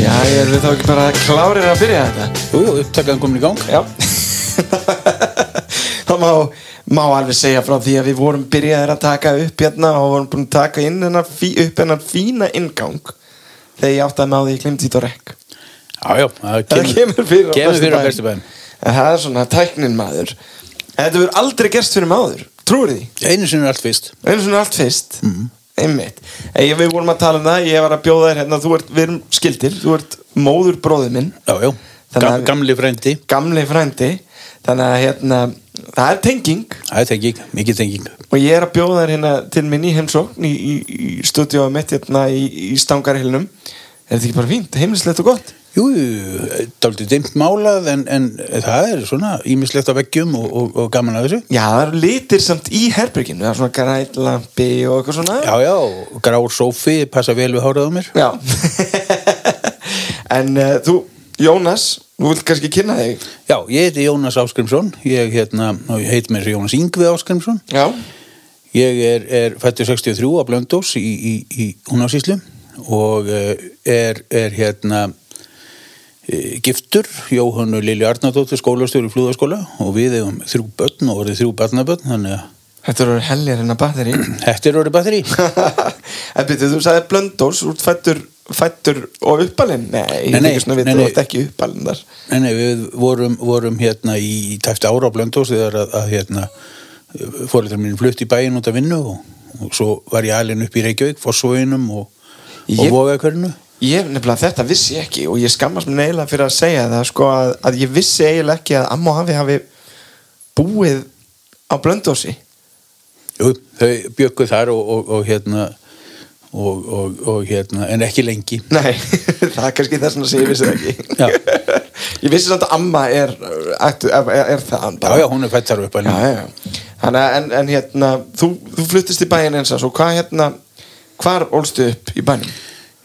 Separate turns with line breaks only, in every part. Já, ég er við þá ekki bara klárir að byrja þetta
Jú, jú, upptakaðan komin í gang
Já Það má, má alveg segja frá því að við vorum byrjaðir að taka upp hérna og vorum búin að taka inn hennar, fí, upp hennar fína ingang þegar ég átti að með á því ég glimti þetta rekk
Já, já, það
Það kemur fyrir á
kemur
bestu
fyrir á
bæjum.
bestu bæjum.
En Það er svona tæknin maður En Þetta verður aldrei gerst fyrir maður Trúir því?
Einu sinni er allt fyrst
einu svona allt fyrst einmitt, ég, við vorum að tala um það ég var að bjóða þér hérna, þú ert, við erum skildir þú ert móður bróðið minn
Já, já,
Þannig
Gam,
að-
gamli frendi
gamli frændi þannig að hérna, það er tenging
Það er tenging, mikið tenging
og ég er að bjóða þér hérna til minn í heimsókn í, í, í stúdíóið mitt hérna í, í stangarhilnum er þetta ekki bara fínt, heimlislegt og gott
Jú, dálítið dimmt málað en, en það er svona ímislegt á veggjum og, og, og gaman að þessu
já, það eru litir samt í herberginu það er svona grænlampi og eitthvað svona
Já, já, og grár sófi, passa vel við hárað á mér
já. en uh, þú, Jónas þú vilt kannski kynna þig
Já, ég heiti Jónas Áskrimsson Ég, hérna, og ég heit mér Jónas Yngvi Áskrimsson
já
Ég er, er fættur 63 á Blöndós í, í, í Húnásíslu og eh, er, er hérna eh, giftur Jóhannu Lili Arnardóttir skólastjóri flúðaskóla og við hefum þrjú börn og orðið þrjú barnabörn þannig að
Þetta eru heljar en að batteri
þetta er orðið batteri
En byrju, þú sagði blöndós Þú ert fættur, fættur og uppalinn Nei,
Nei,
nei,
nei,
ekki svona við
nei,
Þú
nei.
ert ekki uppalinn þar
Nei, nei, við vorum, vorum hérna í tæft ára á Blöndós þegar að, að hérna fóreldrar mín flutt í bæinn út af vinnu og, og svo var ég alinn upp í Reykjavík fórsvöginum og, og
Ég-
vogakörnu
Ég, nefnilega, þetta vissi ég ekki Og ég skammast mér neila fyrir að segja það sko, að, að ég vissi eiginlega ekki að amma og hafi hafi búið á blöndósi
Jú, þau bjöggu þar og, og, og hérna og, og, og hérna, en ekki lengi
Nei, það er kannski þess að ég vissi það ekki
Já.
Ég vissi samt að amma er, er, er, er það
Já, já, hún er fætt þar upp en
já, já. Þannig, að- en, en hérna þú, þú fluttist í bæinn eins og hvað hérna hvar ólstu upp í bænum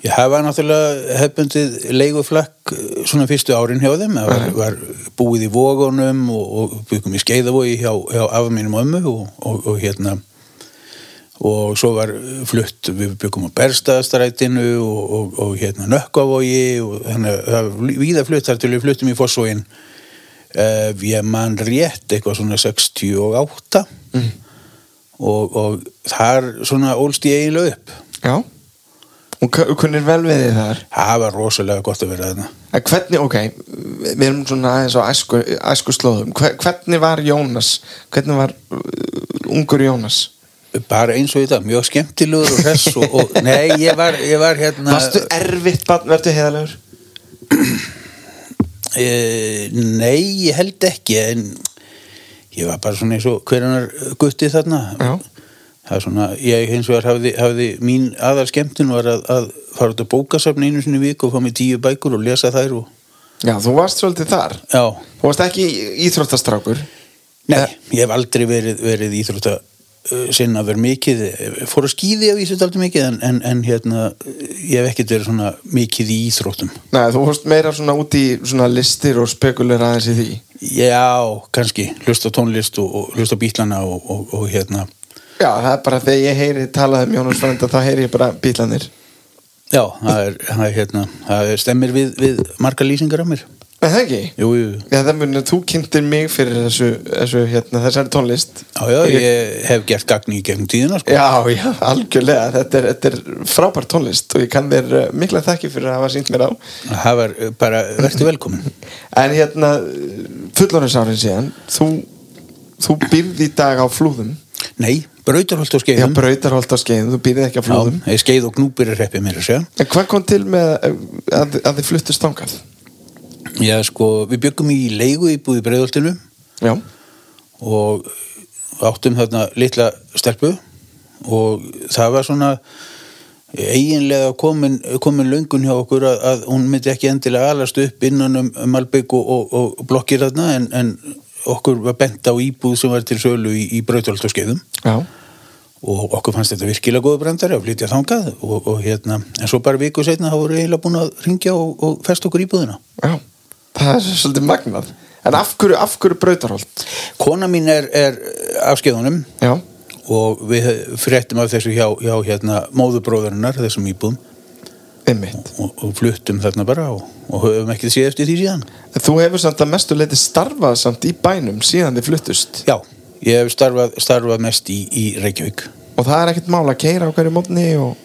ég hafa náttúrulega hefbundið leiguflakk eh, svona fyrstu árin hjá þeim það var, var búið í vógunum og, og byggum í skeiðavogi hjá, hjá afa mínum ömmu og, og, og hérna og svo var flutt við byggum á Berstaðastrætinu og, og, og hérna Nökkavogi og þannig að það var víða flutt þar til við fluttum í Fossvogin uh, ég man rétt eitthvað svona 68 og, og þar svona ólst ég eiginlega upp
já og ku- kunnir vel við þið þar
það var rosalega gott að vera þarna
En hvernig, ok, við erum svona aðeins á æsku, æsku slóðum Hver, hvernig var Jónas hvernig var uh, ungur Jónas
bara eins og í dag, mjög skemmtilegur og hress og, og nei, ég var, ég var hérna
varstu erfitt barn, verður heiðalegur
Eh, nei, ég held ekki en ég var bara svona eins og hverjanar gutti þarna
Já.
það er svona, ég hins vegar hafði, hafði mín aðar skemmtun var að, að fara út að bókasafni einu sinni í viku og fá mér tíu bækur og lesa þær og,
já, þú varst svolítið þar
já,
þú varst ekki í- íþróttastrákur
nei, ég hef aldrei verið, verið íþrótta sinna verið mikið, Eh, fór að skýði á íþrótt aldrei mikið en, en, en hérna ég hef ekkert verið svona mikið í íþróttum
Nei, þú varst meira svona út í svona listir og spekulir aðeins í því
já, kannski, hlusta á tónlist og, og hlusta á bítlana og, og, og hérna
Já, það er bara þegar ég heyri talað um Jónas Frænda þá heyri ég bara bílanir
Já, það er, það er hérna, það er stemmir við, við marga lýsingar á mér.
Er það ekki?
Jú, jú, jú.
Já, það munið, þú kynntir mig fyrir þessu, þessu hérna, þessari tónlist
já, já, ég hef gert gagni í gegnum tíðina, sko.
Já, já, algjörlega, þetta er, þetta er frábær tónlist og ég kann þér eh, mikla þekki fyrir að hafa sínt mér á
Það var eh, bara, verður velkomin.
En hérna, fullorðinsárin síðan, þú, þú býrð í dag á flúðum
Nei, brautarholt og
Já,
skeiðum.
brautarholt á skeiðum, þú býrð ekki á flúðum
Já, eh, skeið og gnúpir er reppið mér að segja.
En hvað kom til með að, að, að þið fluttist þangað?
Já, sko, við byggum í leigu íbúð í brautarholtinu
Já,
og áttum þarna litla stelpu og það var svona eiginlega komin, komin löngun hjá okkur að, að hún myndi ekki endilega alast upp innan um um Malbygg og, og, og blokkir þarna en, en okkur var bent á íbúð sem var til sölu í, í brautöld og skeiðum
já,
og okkur fannst þetta virkilega góðu brandari að flytja þangað og, og hérna en svo bara viku setna þá voru eiginlega búin að ringja og, og fest okkur íbúðina
já Það er svolítið magnað En af hverju, af hverju brautarholt?
Kona mín er, er af skeiðunum
Já,
og við fréttum af þessu hjá, hjá hérna, móðubróðurinnar, þessum íbúðum
einmitt
og, og fluttum þarna bara og, og höfum ekki séð eftir því síðan.
En Þú hefur samt að mestu leiti starfað samt í bænum síðan þið fluttust
Já, ég hef starfað, starfað mest í, í Reykjavík.
og það er ekkert mál að keira á hverju mótni og...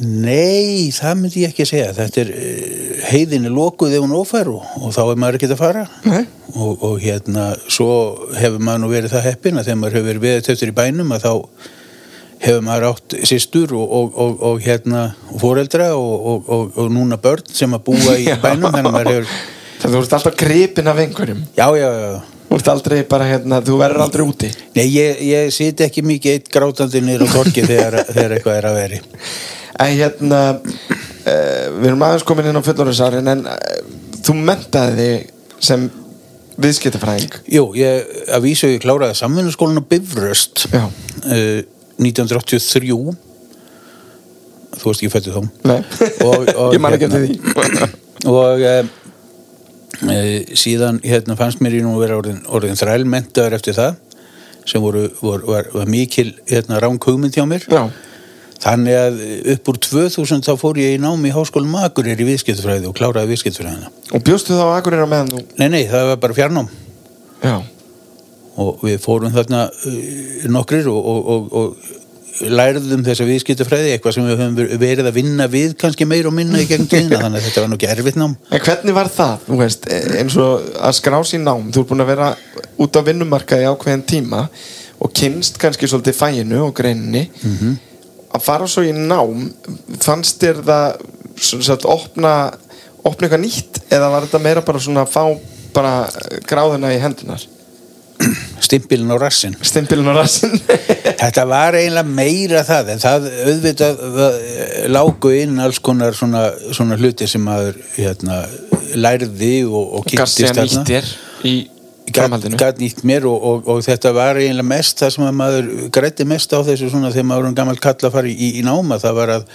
Nei, það myndi ég ekki að segja. Þetta er eh, heiðin er lokuð ef hún ófær og, og þá er maður ekki að fara.
Nei,
Og, og hérna, svo hefur maður nú verið það heppin að þegar maður hefur verið veðið eftir í bænum að þá hefur maður átt sýstur og, og, og, og hérna og foreldra og, og, og, og núna börn sem að búa í
Já.
bænum þannig að maður hefur
það þú ert alltaf gripin af einhverjum
Já, já, já.
Þú ert aldrei bara hérna, þú verður aldrei úti
Nei, ég, ég sit ekki mikið eitt grátandi nýr á torki þegar, þegar eitthvað er að veri.
En hérna uh, Við erum aðeins komin inn á fullorðinsárin En uh, þú mentaði þig sem viðskiptafræðing
Jú, ég, að vísu ég kláraði samvinnaskólan á Bifröst
Já.
Eh, 1983 Þú veist ekki fættu þá
Nei,
Og- og
ég man ekki eftir
hérna.
því
og e, e, síðan hérna fannst mér í nú að vera orðin, orðin þrælmentaður eftir það sem voru, voru, var, var mikil hérna, ránkugmynd hjá mér
Já,
þannig að upp úr 2000 þá fór ég í námi í háskólum Akureyri í viðskiptfræði og kláraði viðskiptfræðina
og bjóstu þá á Akureyra meðan þú
nei nei það var bara fjarnám
Já,
og við fórum þarna eh, nokkrir og, og, og, og lærðum þessa viðskiptafræði eitthvað sem við höfum verið að vinna við kannski meira og minna í gegn tíðina þannig að þetta var nú ekki erfitt nám
en hvernig var það, þú veist, e, eins og að skrá sín nám, þú ert búin að vera út á vinnumarkaði ákveðin tíma og kynst kannski svolítið fæinu og greinni að fara svo í nám, fannst þér það svona sagt opna, opna eitthvað nýtt eða var þetta meira bara svona að fá bara gráðuna í hendunar
stimpilin á rassin
stimpilin og rassinn
þetta var eiginlega meira það en það auðvitað það lágu inn alls konar svona, svona hluti sem maður hérna, lærði og, og
kannski
kynntist
að nýttir í framhaldinu
gæt nýtt mér og, og, og þetta var eiginlega mest það sem að maður grætti mest á þessu svona þegar maður var um gammal kall að fara í, í náma það var að,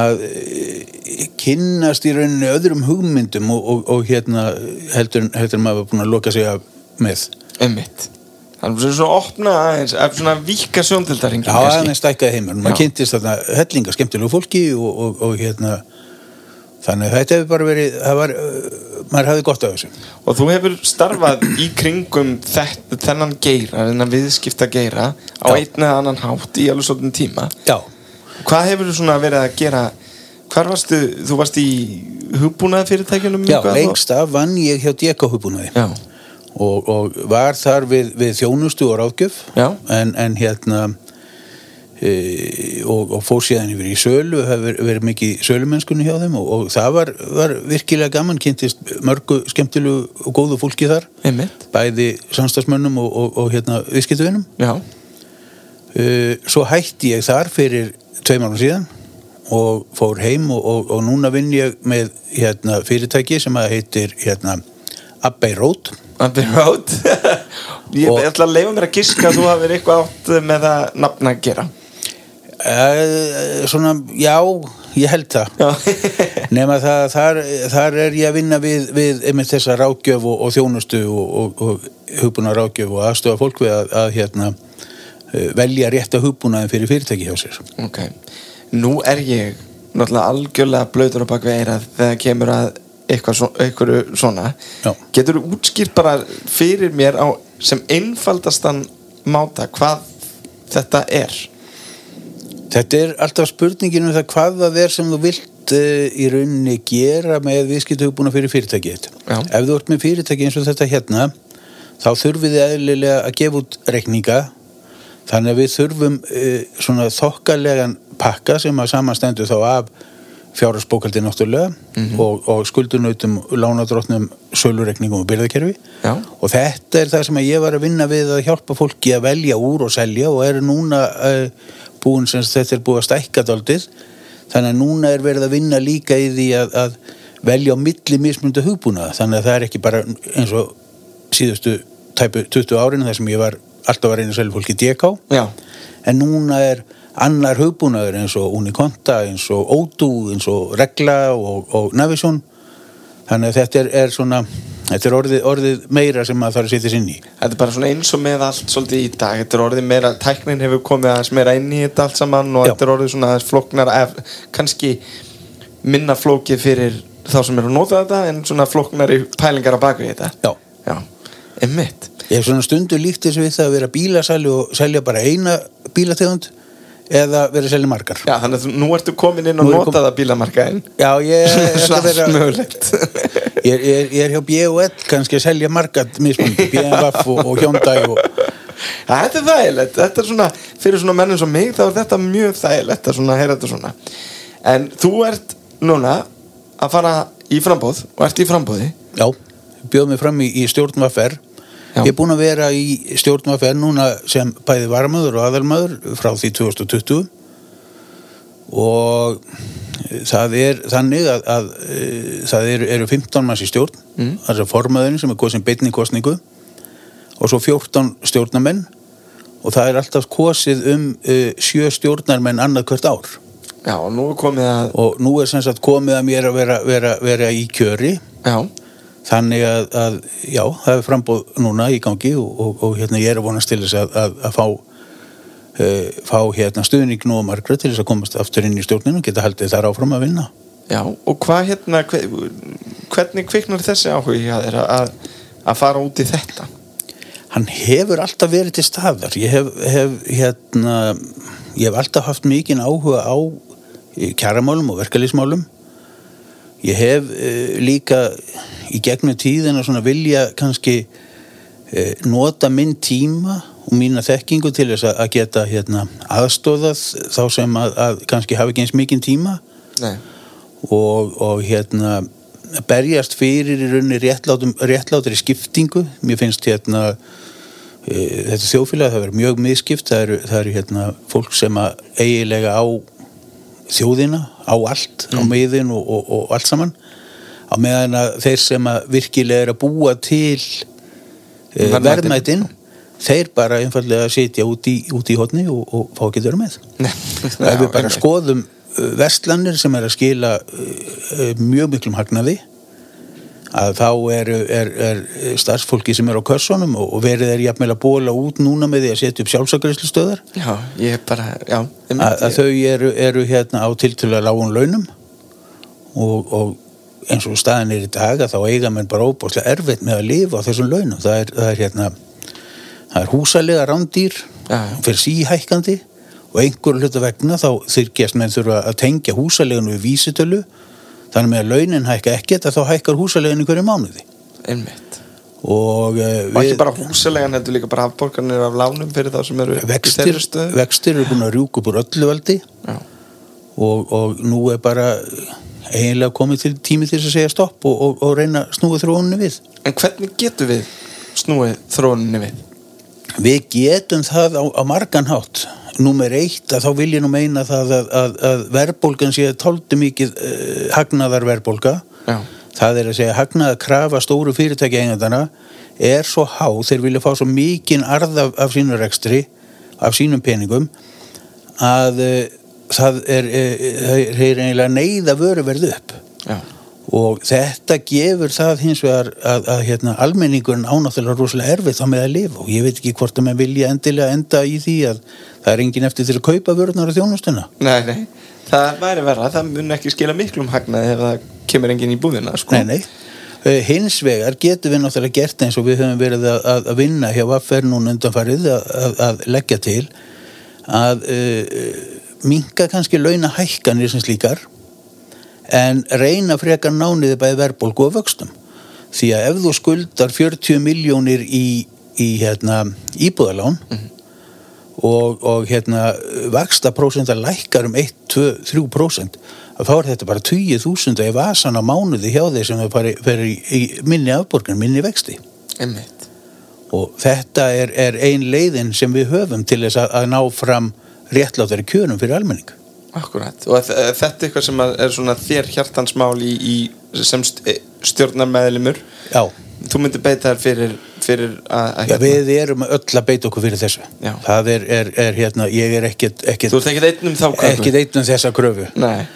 að e, kynnast í rauninni öðrum hugmyndum og, og, og hérna heldur, heldur en maður var búin að loka sig af með
einmitt þannig að svona opna aðeins að svona vika sjóndildaring
Já, aðeins stækkaði heimur, maður
Já.
kynntist þarna hellinga skemmtilegu fólki og, og, og hérna þannig að þetta hefur bara verið það var, ö, maður hafði gott af þessu
Og þú hefur starfað í kringum þetta, þennan geira, þennan viðskipta geira á
Já.
einn eða annan hátt í alveg svolítið tíma.
Já,
Hvað hefur þú svona verið að gera? Hvar varstu, þú varst í hugbúnað fyrirtækjunum?
Já, lengst af vann ég hjá DK-hugbúnaði
Já.
og, og var þar við, við þjónustu og ráðgjöf
Já.
en, en hérna e, og, og fór síðan yfir í sölu hefur verið mikið í sölumennskunni hjá þeim og, og það var, var virkilega gaman kynntist mörgu skemmtilegu og góðu fólki þar
Einmitt.
bæði samstagsmönnum og, og, og hérna viðskiptuvinnum
Já.
Uh, svo hætti ég þar fyrir tveim árum síðan og fór heim og, og, og núna vinn ég með hérna, fyrirtæki sem að heitir hérna, Abbey Road
On the road. ég
Og-
ætla að leifa mér að giska að þú hafið eitthvað átt með það nafna að gera.
uh, svona, já, ég held það
Já.
nema það, þar, þar er ég að vinna við, við einmitt þessa rákjöf og, og þjónustu og, og, og hugbúna rákjöf og aðstofa fólk við að, að hérna, uh, velja rétta hugbúnaðin fyrir fyrirtæki hjá sér
Ok, nú er ég náttúrulega algjörlega blöytur á bak við eirað þegar kemur að eitthvað svo, einhverju svona
Já.
Getur þú útskýrt bara fyrir mér á sem einfaldastan máta hvað þetta er?
Þetta er alltaf spurningin um það hvað það er sem þú vilt uh, í rauninni gera með viðskiptuhugbúna fyrir fyrirtækið.
Já.
Ef þú ert með fyrirtæki eins og þetta hérna, þá þurfið þið eðlilega að gefa út reikninga, þannig að við þurfum uh, svona þokkalega pakka sem að samanstendur þá af fjárhagsbókaldi náttúrulega og, og skuldunautum, lánadrottnum, sölureikningum og byrðakerfi
Já.
og þetta er það sem að ég var að vinna við að hjálpa fólki að velja úr og selja og er núna uh, búin sem sagt, þetta er búið að stækka daldið þannig að núna er verið að vinna líka í því að, að velja á milli mismundu hugbúna þannig að það er ekki bara eins og síðustu tæpu 20 árin þar sem ég var alltaf að reyna að selja fólki DK
Já
en núna er annar hugbúnaður eins og Unikonta, eins og Ódú, eins og Regla og, og Navision þannig að þetta er, er svona Þetta er orðið, orðið meira sem maður þarf að setja sér inn í
Þetta er bara svona eins og með allt svolítið í dag Þetta er orðið meira, tæknin hefur komið aðeins meira inn í þetta allt saman og
Já.
þetta er orðið svona aðeins flóknara ef, kannski minna flókið fyrir þá sem eru að nota þetta en svona flóknari pælingar á baku í þetta
Já.
Já, emmitt
Ég hef svona stundu líkt þessu við það að vera bílasæli og selja bara eina bílategund eða vera að selja margar.
Já, þannig að þú- nú ertu komin inn og
Nú er ég
notað að bílamarkaðin
Já, ég, þetta
Svona allt
vera-
mögulegt
ég, er- ég, er- ég er hjá B&L kannski að selja margar mismundi, B&F og, og Hyundai og
Ja, Þetta er þægilegt, þetta er svona fyrir svona mennum sem mig þá er þetta mjög þægilegt að svona heyra þetta svona En þú ert núna að fara í frambóð og ert í frambóði
já, bjóð mig fram í, í stjórnvafer.
Já.
Ég er búin að vera í stjórnvafer núna sem bæði varamöður og aðalmöður frá því 2020 og eh, það er þannig að, að e, það eru, eru 15 manns í stjórn mm. það er formöðurinn sem er kosin beinni kosningu og svo 14 stjórnarmenn og það er alltaf kosið um e, sjö stjórnarmenn annað hvert ár
Já, og nú er komið að
og nú er sem sagt komið að mér að vera, vera, vera í kjöri
Já,
þannig að, að já, það er frambóð núna í gangi og, og, og hérna ég er að vonast til þess að, að, að fá Uh, fá hérna stuðning nú og margra til þess að komast aftur inn í stjórninu og geta haldið þar áfram að vinna
já, og hvað hérna hve- hvernig kviknar þessi áhugi að þeir að, að fara út í þetta?
hann hefur alltaf verið til staðar ég hef, hef hérna ég hef alltaf haft mikinn áhuga á eh, kjaramálum og verkalýsmálum ég hef uh, líka í gegnum tíðina svona vilja kannski uh, nota minn tíma og mína þekkingu til þess að, að geta hérna, aðstóðað þá sem að, að kannski hafi ekki eins mikinn tíma
Nei,
og, og hérna berjast fyrir í rauninni réttlátum, réttlátri skiptingu mér finnst hérna e, þetta þjófélag það verður mjög miðskipt það eru, það eru hérna fólk sem að eigilega á þjóðina á allt, á miðin og, og, og allt saman á meðan að þeir sem að virkilega er að búa til e,
Verðmætin.
verðmætin þeir bara einfallega sitja út í, út í hotni og, og fá ekki að vera með
Nei.
og ef við bara
einmitt.
skoðum uh, verslanir sem er að skila uh, uh, mjög miklum hagnaði að þá er, er, er uh, starfsfólki sem er á kössunum og og verið er jafnvel að bóla út núna með því að setja upp sjálfsakreislustöðar
Já, ég er bara, Mm, já einmitt,
að, að
ég-
þau eru, eru hérna á tiltölulega lágun launum og, og eins og staðan er í dag að þá eiga menn bara óbúrslega erfitt með að lifa á þessum launum það er, það er hérna það er húsalega rándýr
Já, já.
fyrir síhækkandi og einhver hluta vegna þá þyrkjast menn þurfa að tengja húsaleginu við vísitölu þannig með að launin hækka ekkert að þá hækkar húsaleginu hverju mánuði
Einmitt
og eh,
Og ekki bara húsalegan heldur líka bara afborganir af lánum fyrir þá sem eru í
vextir,
þeirri stöðu.
vextir eru búin að rjúka upp úr öllu veldi
Já,
og, og nú er bara eiginlega komið til tími til þess að segja stopp og, og, og reyna að snúa þróunni við
En hvernig getum við snúið þróuninni við?
við getum það á, á margan hátt númer eitt að þá vil ég nú meina það að, að, að verðbólgan sé tóldi mikið uh, hagnaðar verðbólga
Já,
það er að segja hagnaða krafa stóru fyrirtæki eigendana er svo há, þeir vilja fá svo mikinn arð af, af sínum rekstri af sínum peningum að uh, það er, uh, þeir er eiginlega neyða vöruverð upp
já,
og þetta gefur það hins vegar að, að hérna, almenningurinn ánáttúrulega rosalega erfið þá með að lifa og ég veit ekki hvort að menn vilja endilega enda í því að það er engin eftir til að kaupa vörðnar og þjónustuna
nei, nei Það væri verra, það mun ekki skila miklum hagnaði ef það kemur enginn í búðina sko.
nei, nei. Eh, hins vegar getum við náttúrulega gert eins og við höfum verið að, að, að vinna hjá Vaffer núna undanfarið að, að, að leggja til að uh, minka kannski launahækkanir sem slíkar en reyna frekar nániði bæði verðbólgu og vöxtum því að ef þú skuldar 40 miljónir í, í hérna, íbúðalán
Mhm.
og, og hérna vaksta prósentar lækkar um 1, 2, 3 prósent að þá er þetta bara 20.000 í vasan á mánuði hjá þeir sem þau fyrir í, í minni afborgan, minni vexti
Einmitt
og þetta er, er ein leiðin sem við höfum til þess að, að ná fram réttlátari kjörum fyrir almenning
Akkurat, og þ- eh, þetta er eitthvað sem að- er svona þér hjartansmál í, í sem stjórnar meðlumur
Já,
Þú myndir beita þér fyrir, fyrir að, að
já við erum öll að beita okkur fyrir þessu
Hérna. Já.
það er, er, er hérna, ég er ekkit, ekkit
Þú ert ekkert einn um þá
ekkit eitt um þessa kröfu
Nei,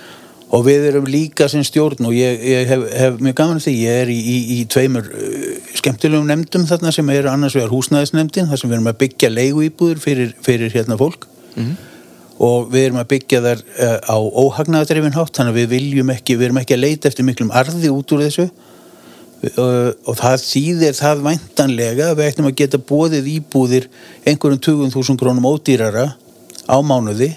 og við erum líka sem stjórn og ég, ég hef, hef mjög gaman af því ég er í, í, í tveimur uh, skemmtilegum nefndum þarna sem er annars vegar húsnæðisnefndin þar sem við erum að byggja leiguíbúður fyrir, fyrir hérna fólk
Mhm.
og við erum að byggja þar uh, á óhagnaðadreifin hátt þannig að við viljum ekki, við erum ekki að leita eftir miklum arði út úr þessu uh, og það þýðir það væntanlega að við ættum að geta bóðið íbúðir einhverjum 20.000 krónum ódýrara á mánuði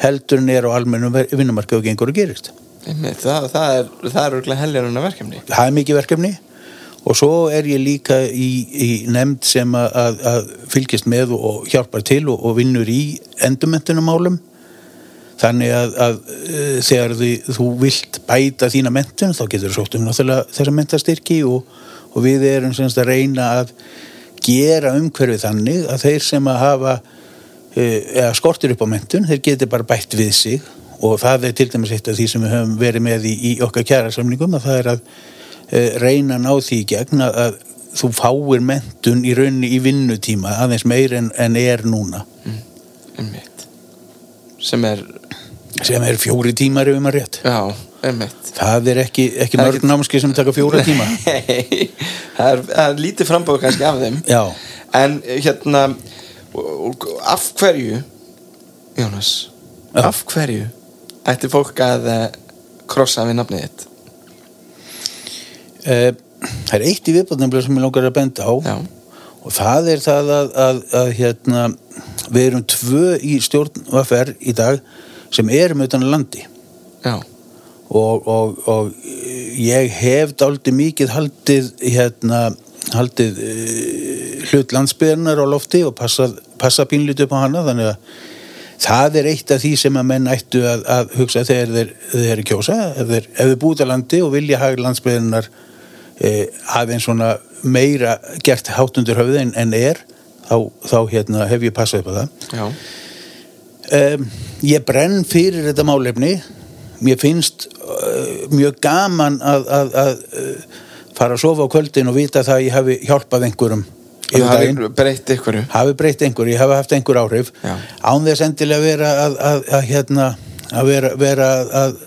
heldur en er á almennum vinnumarka og gengur og gerist
Einmitt, það, það er, það er örgulega heljarunna verkefni
það er mikið verkefni og svo er ég líka í, í nefnd sem að, að, að fylgist með og- og hjálpar til og, og vinnur í endurmentunumálum þannig að, að eh, þegar því, þú vilt bæta þína mentun þá getur þú sótt um náttúrulega þessa mentastyrki og, og við erum semst að reyna að gera umhverfið þannig að þeir sem að hafa eh, eða skortir upp á mentun þeir geti bara bætt við sig og það er til dæmis eitt af því sem við höfum verið með í, í okkar kjærasamlingum að það er að e, reyna að ná því í gegn að, að þú fáir mentun í rauninni í vinnutíma aðeins meir en, en er núna
Einmitt. sem er
sem er fjóri tímar ef maður rétt
já, einmitt
Það er ekki, ekki
Það er
mörg
ekki-
námskeið sem taka fjóra tíma.
Nei, það er, það er lítið frambóð kannski af þeim
Já.
en hérna og- og af hverju Jónas
Já.
af hverju ætti fólk að eh, krossa við nafnið þitt
Eh, Það er eitt í viðbóðnefnilega sem ég langar að benda á
Já.
og það er það að, að, að hérna, við erum tvö í stjórn VFR í dag sem erum utan að landi
já,
og, og, og ég hef dálítið mikið haldið hérna, haldið uh, hlut landsbyrnar á lofti og passað, passað pínlítið upp á hana þannig að það er eitt af því sem að menn ættu að, að hugsa þegar þeir, þeir kjósa ef þeir, ef þeir búið að landi og vilja hafa landsbyrnar uh, aðeins svona meira gert hátt undir höfði en, en er þá, þá hérna, hef ég passað upp á það
já,
um, ég brenn fyrir þetta málefni mér finnst uh, mjög gaman að, að, að uh, fara að sofa á kvöldin og vita það að ég hafi hjálpað einhverjum yfir
það
daginn,
hafi breytt ykkur
hafi breytt einhverju ég hafi haft einhver áhrif
Já.
án þess endilega að vera að, að, að, hérna, að vera, vera að, að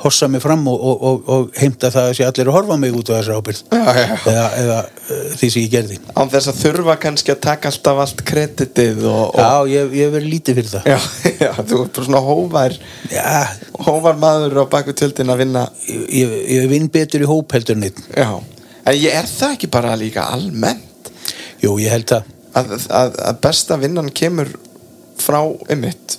hossa mig fram og, og, og, og heimta það að sé allir að horfa á mig út á þessu ábyrð
já, já, já
eða, eða uh, því sem ég gerði
án þess að þurfa kannski að taka alltaf allt kreditið og, og
Já, ég, ég hef verið lítið fyrir það
já, já, þú ert bara svona hóvar
Já,
hóvar maður á baku tjöldin að vinna
ég, ég, ég vinn betur í hóp heldur en neitt
já, en ég er það ekki bara líka almennt
Jú, ég held það.
að, að, að besta vinnan kemur frá einmitt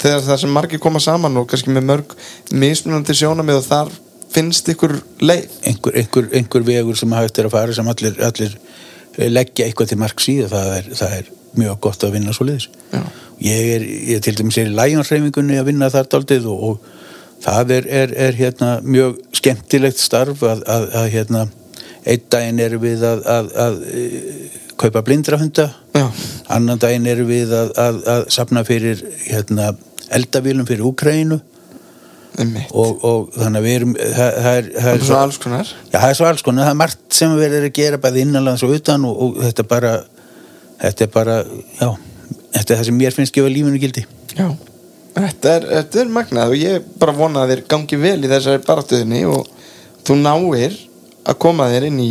þegar það sem margir koma saman og kannski með mörg mismunandi sjónamið og þar finnst ykkur leið
Einhver, einhver, einhver vegur sem hægt er að fara sem allir, allir eh, leggja eitthvað til mark síða, það er, það er mjög gott að vinna svo liðis.
já,
Ég er, ég til dæmis er í lægjónsreifingunni að vinna þar daldið og, og það er, er, er hérna mjög skemmtilegt starf að, að, að hérna einn daginn erum við að, að, að, að kaupa blindrahunda
já,
annan daginn erum við að, að, að sapna fyrir hérna eldavílum fyrir Úkraínu
einmitt
og, og þannig að við erum það, það er, það
það
er
er svona alls konar
Já, það er svo alls konar, það er margt sem við erum að gera bæði innanlands og utan og, og þetta er bara, þetta er bara, já, þetta er það sem mér finnst gefa lífinu gildi.
já Þetta er, þetta er magnað og ég bara vona að þér gangi vel í þessari baráttuðinni og þú náir að koma þér inn í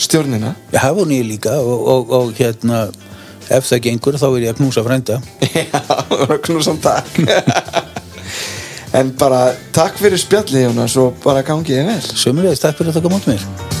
stjórnina
Ég hafa hún ég líka og, og, og hérna, ef það gengur þá er ég að knúsa frænda.
Já, knúsan takk En bara takk fyrir spjallið Jónas og bara gangið þér vel
Sömulegis, takk fyrir að taka mót mér.